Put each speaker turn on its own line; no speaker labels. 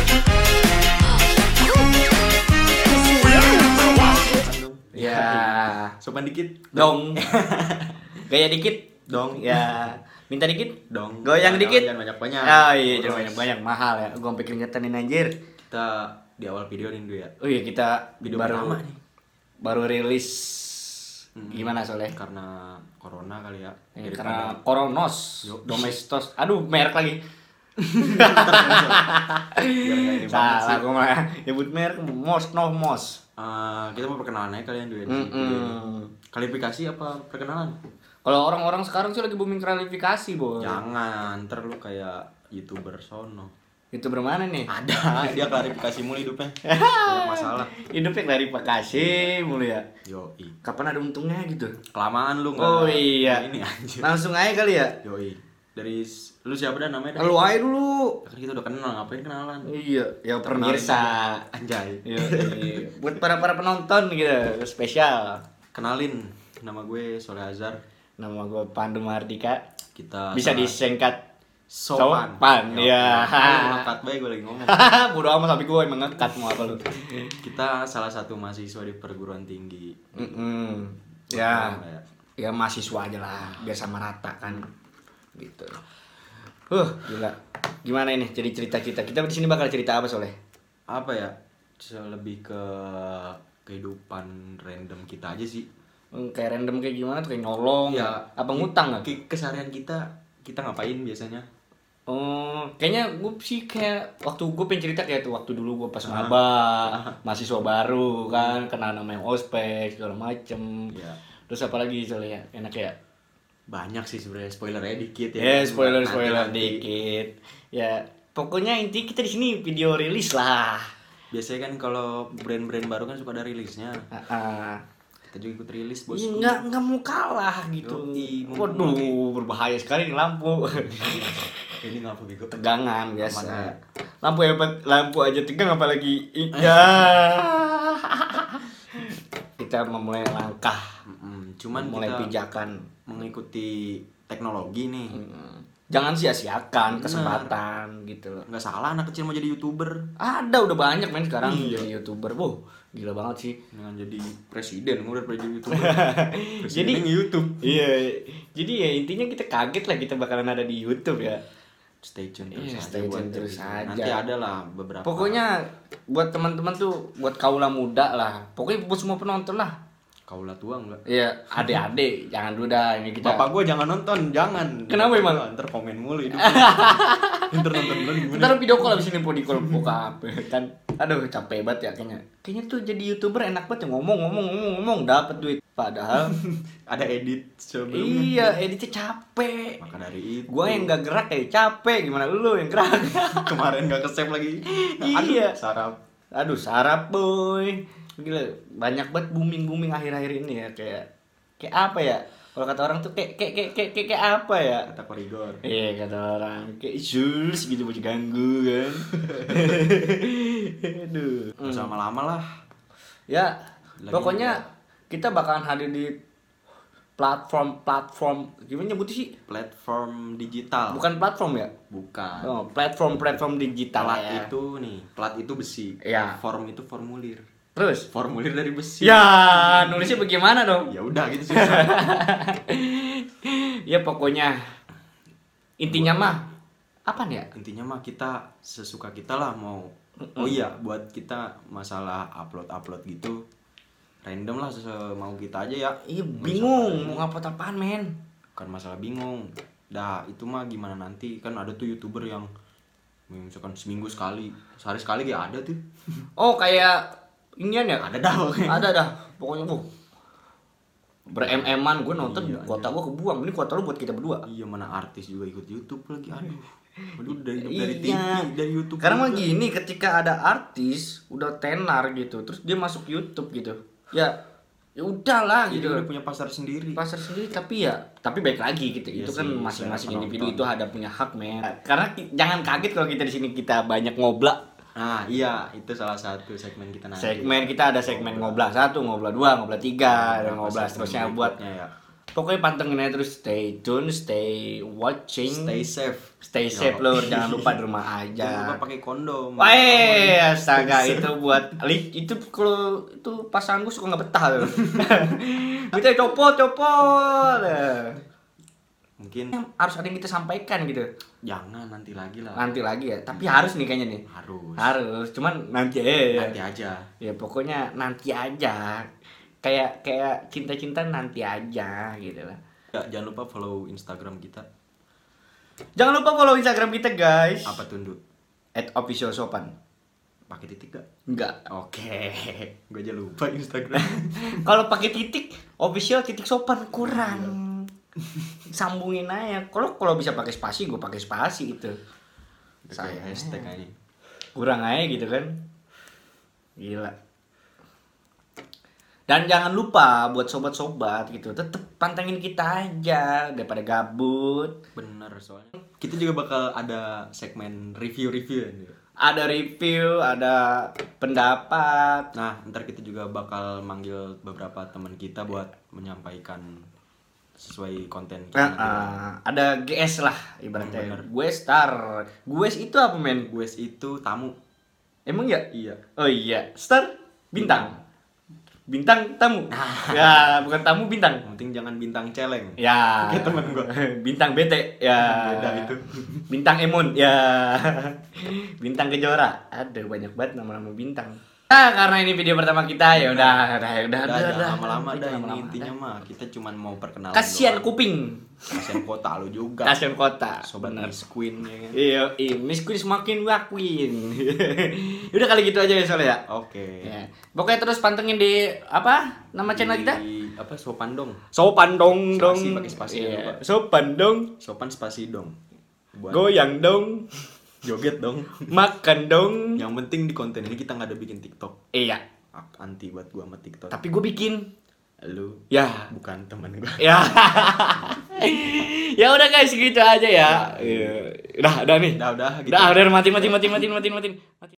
Ya.
Ya.
Iya.
depan Iya. dikit
Dong. Gaya dikit,
dong
ya minta dikit.
dong
Goyang
Jangan-
dikit.
jangan banyak banyak
Ah iya, jangan banyak-banyak mahal ya. Gua pikir ngetenin anjir.
kita di awal video nih dulu ya
Oh iya, kita
Video
baru
pertama nih.
baru rilis gimana soalnya?
Hmm. karena corona kali ya
Ya,
Jadi
karena Coronos, Domestos, aduh merek lagi.
biar nggak ini banget sih.
Salah gue mah nyebut merek Mos no Mos.
Eh, kita mau perkenalan aja kalian dulu ya di sini.
Mm-mm.
Klarifikasi apa perkenalan?
Kalau orang-orang sekarang sih lagi booming klarifikasi, Boy.
Jangan, ntar lu kayak youtuber sono.
Itu bermana nih?
Ada, dia klarifikasi mulu hidupnya. Banyak masalah.
Hidupnya klarifikasi mulu ya.
Yoi.
Kapan ada untungnya gitu?
Kelamaan lu nggak-
Oh iya.
Ini anjir.
Langsung aja kali ya.
Yoi. Dari s- lu siapa dan namanya? Dan?
Lu aja dulu.
Kan kita udah kenal, ngapain kenalan?
Iya, ya pemirsa.
Anjay.
Iya, iya. Buat para-para penonton gitu, spesial.
Kenalin, nama gue Soleh Azhar.
Nama gue Pandu Mardika.
Kita
Bisa
sama-
disingkat
sopan.
Sopan, iya.
Lekat baik gue lagi ngomong.
Bodo amat tapi gue emang ngekat mau apa lu.
Kita salah satu mahasiswa di perguruan tinggi.
Mm-mm. Ya,
Kayak
ya mahasiswa aja lah, biar sama rata kan. Gitu. Huh, gila. Gimana ini jadi cerita kita? Kita di sini bakal cerita apa soleh?
apa ya? se- Lebih ke kehidupan random kita aja sih.
Hmm, Kayak random kayak gimana tuh kayak nyolong
Iya.
apa ngutang nggak?
Ke keseharian kita kita ngapain biasanya?
Oh, kayaknya gue sih kayak waktu gue pengen cerita kayak tuh waktu dulu gue pas
Ah.
maba, mahasiswa baru kan, kenal nama yang ospek segala macem.
Iya.
Terus apalagi soalnya enak ya.
Banyak sih sebenarnya spoilernya dikit ya.
Ya spoiler
Nanti-
spoiler
nanti.
dikit. Ya pokoknya inti kita di sini video rilis lah.
Biasanya kan kalau brand-brand baru kan suka ada rilisnya.
Ah, ah.
Kita juga ikut rilis, Bos.
Iya, nggak nggak mau kalah gitu.
Yoi, mau-
Waduh berbahaya sekali nih lampu.
Ini ngapa bego?
Tegangan
Aman
biasa.
aja.
Lampu hebat, lampu aja tegang apalagi iya. kita memulai langkah,
Mm-mm, Cuman
mulai
kita
pijakan.
mengikuti teknologi nih.
Hmm. Jangan sia-siakan kesempatan gitu loh.
nggak salah anak kecil mau jadi youtuber
Ada udah banyak men sekarang
Iya.
jadi YouTuber. Wow, gila banget sih.
dengan jadi presiden udah jadi youtuber
Jadi
Presiden YouTube
Iya. Jadi ya intinya kita kaget lah kita bakalan ada di YouTube ya.
stay tune terus
Iya,
aja
stay
buat
tune terus
itu.
aja.
nanti ada lah beberapa
Pokoknya buat teman-teman tuh buat kaula muda lah. Pokoknya buat semua penonton lah.
kaulah tua enggak
Iya, adik-adik jangan dulu dah ini kita.
Bapak gue jangan nonton, jangan.
Iya. Kenapa emang?
Ntar komen mulu hidupnya. Ntar nonton dulu gimana.
Ntar video call abis ini di call bokap kan. Aduh capek banget ya kayaknya. Kayaknya tuh jadi youtuber enak banget ya ngomong ngomong ngomong ngomong dapat duit. Padahal
Ada edit sebelumnya.
iya editnya capek.
Maka dari itu.
Iya. Gua yang gak gerak kayak capek gimana lu yang gerak.
kemarin gak kesep lagi.
Iya.
Sarap.
Aduh sarap boy. Gila banyak banget booming booming akhir-akhir ini ya kayak kayak apa ya? Kalau kata orang tuh kayak kayak kayak kayak, kayak, kayak apa ya?
Kata korigor.
Iya kata orang kayak Jules gitu mau diganggu kan. Aduh.
Gak usah lama-lama lah.
Ya,
Lagi
pokoknya kita bakalan hadir di platform-platform gimana nyebutnya sih?
Platform digital.
Bukan platform ya?
Bukan.
Oh, platform-platform digital
Plat
lah ya.
itu nih, plat itu besi.
Iya.
Form itu formulir.
Terus?
Formulir dari besi.
Ya, nulisnya bagaimana dong?
Ya udah gitu sih.
ya pokoknya intinya mah apa ya?
Intinya mah kita sesuka kita lah mau. Oh iya, buat kita masalah upload-upload gitu random lah mau kita aja ya.
Iya bingung mau ngapot apaan men?
Bukan masalah bingung. Dah, itu mah gimana nanti kan ada tuh YouTuber yang misalkan seminggu sekali, sehari sekali ya ada tuh.
Oh kayak inian ya?
Ada dah. pokoknya.
ada dah pokoknya bu berem-eman gue nonton
Iya,
kuota gue kebuang ini kuota lu buat kita berdua
Iya mana artis juga ikut YouTube lagi aduh. Aduh dari
Iya.
dari TV, dari YouTube.
karena mah
juga.
gini ketika ada artis udah tenar gitu terus dia masuk YouTube gitu ya ya udahlah
Jadi
gitu
udah punya pasar sendiri.
pasar sendiri tapi ya tapi baik lagi gitu
Iya
itu
sih,
kan
selera
masing-masing
penonton.
individu itu ada punya hak men
Ah.
karena ki- jangan kaget kalau kita di sini kita banyak ngoblak
Nah, iya, itu salah satu segmen kita nanti.
segmen kita ada segmen ngoblak satu ngoblak dua ngoblak
Nah,
tiga dan ngoblak seterusnya buat
berikutnya ya.
pokoknya pantengin aja terus stay tune stay watching
Stay safe.
Stay safe lur, jangan lupa di
Jangan
rumah
iya, lupa
aja.
pakai kondom.
Wah, iya, astaga itu buat li- itu kalau itu pasangan gue suka nggak betah loh. kita Gitu ya, copot copot
mungkin
harus ada yang kita sampaikan gitu
jangan nanti lagi lah
nanti lagi ya tapi harus nih kayaknya nih
harus Iya.
harus cuman nanti aja
nanti aja
ya pokoknya nanti aja kayak kayak cinta-cinta nanti aja gitu lah
ya, jangan lupa follow instagram kita
jangan lupa follow instagram kita guys
apa tunduk
at official sopan
pakai titik gak
enggak
oke gue aja lupa instagram
kalau pakai titik official titik sopan kurang
Iya.
sambungin aja kalau kalau bisa pakai spasi gue pakai spasi itu
Udah kayak
Sayang.
hashtag aja
kurang aja gitu kan gila dan jangan lupa buat sobat-sobat gitu tetep pantengin kita aja daripada gabut
bener soalnya kita juga bakal ada segmen review-review ya Ndu.
ada review ada pendapat
nah ntar kita juga bakal manggil beberapa teman kita buat menyampaikan sesuai konten
Nah,
kita
ah, ada GS lah ibaratnya
Bener.
gue star gue itu apa men
gue itu tamu
emang ya
iya
oh iya star bintang bintang tamu ya bukan tamu bintang
yang penting jangan bintang celeng
Ya.
Oke, temen gua.
Bintang bete. Ya.
Beda itu.
Bintang Emon. Ya. Bintang Kejora. Aduh banyak banget nama-nama bintang. Nah, karena ini video pertama kita ya udah udah ya udah
Udah,
udah,
jangan
udah.
lama-lama
Udah,
dah ini
lama-lama,
intinya mah kita cuman mau perkenalan
udah. Kasihan
doang.
kuping.
kasihan kota lu juga
Kasihan kota.
sobat
Bener.
Miss Queen ya kan
Iya, iya, Miss Queen semakin wakwin. udah kali gitu aja ya soalnya ya.
oke
Ya. Pokoknya terus pantengin di apa nama channel
Di-
kita?
apa sopan dong
Sopan dong dong.
Spasi, pakai spasi,
Iya.
jangan lupa.
Sopan dong,
sopan spasi dong buat
goyang dong.
joget dong
makan dong
yang penting di konten ini kita nggak ada bikin TikTok
iya
Ak- anti buat gua sama TikTok
tapi gue bikin
lu
ya
bukan teman gua
ya ya udah guys gitu aja ya Iya. udah udah nih
udah udah gitu
udah udah matiin matiin matiin matiin matiin matiin